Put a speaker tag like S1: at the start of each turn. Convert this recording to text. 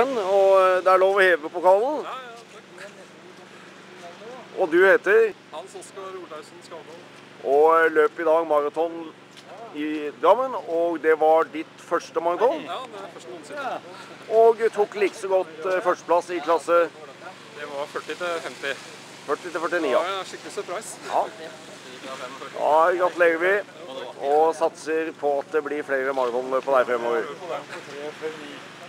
S1: Og eh, det er lov å heve pokalen.
S2: Ja, ja, takk.
S1: Og du heter
S2: Hans Oskar Olaussen Skavlan.
S1: og eh, løp i dag maraton i Drammen. Og det var ditt første maraton.
S2: Ja, det er første noensinne.
S1: Og tok like så godt eh, førsteplass i klasse
S2: Det var 40 til 50.
S1: 40 til 49.
S2: Det
S1: Ja.
S2: var en skikkelig surprise.
S1: Ja. Da gratulerer vi, og satser på at det blir flere maratonløp på deg fremover.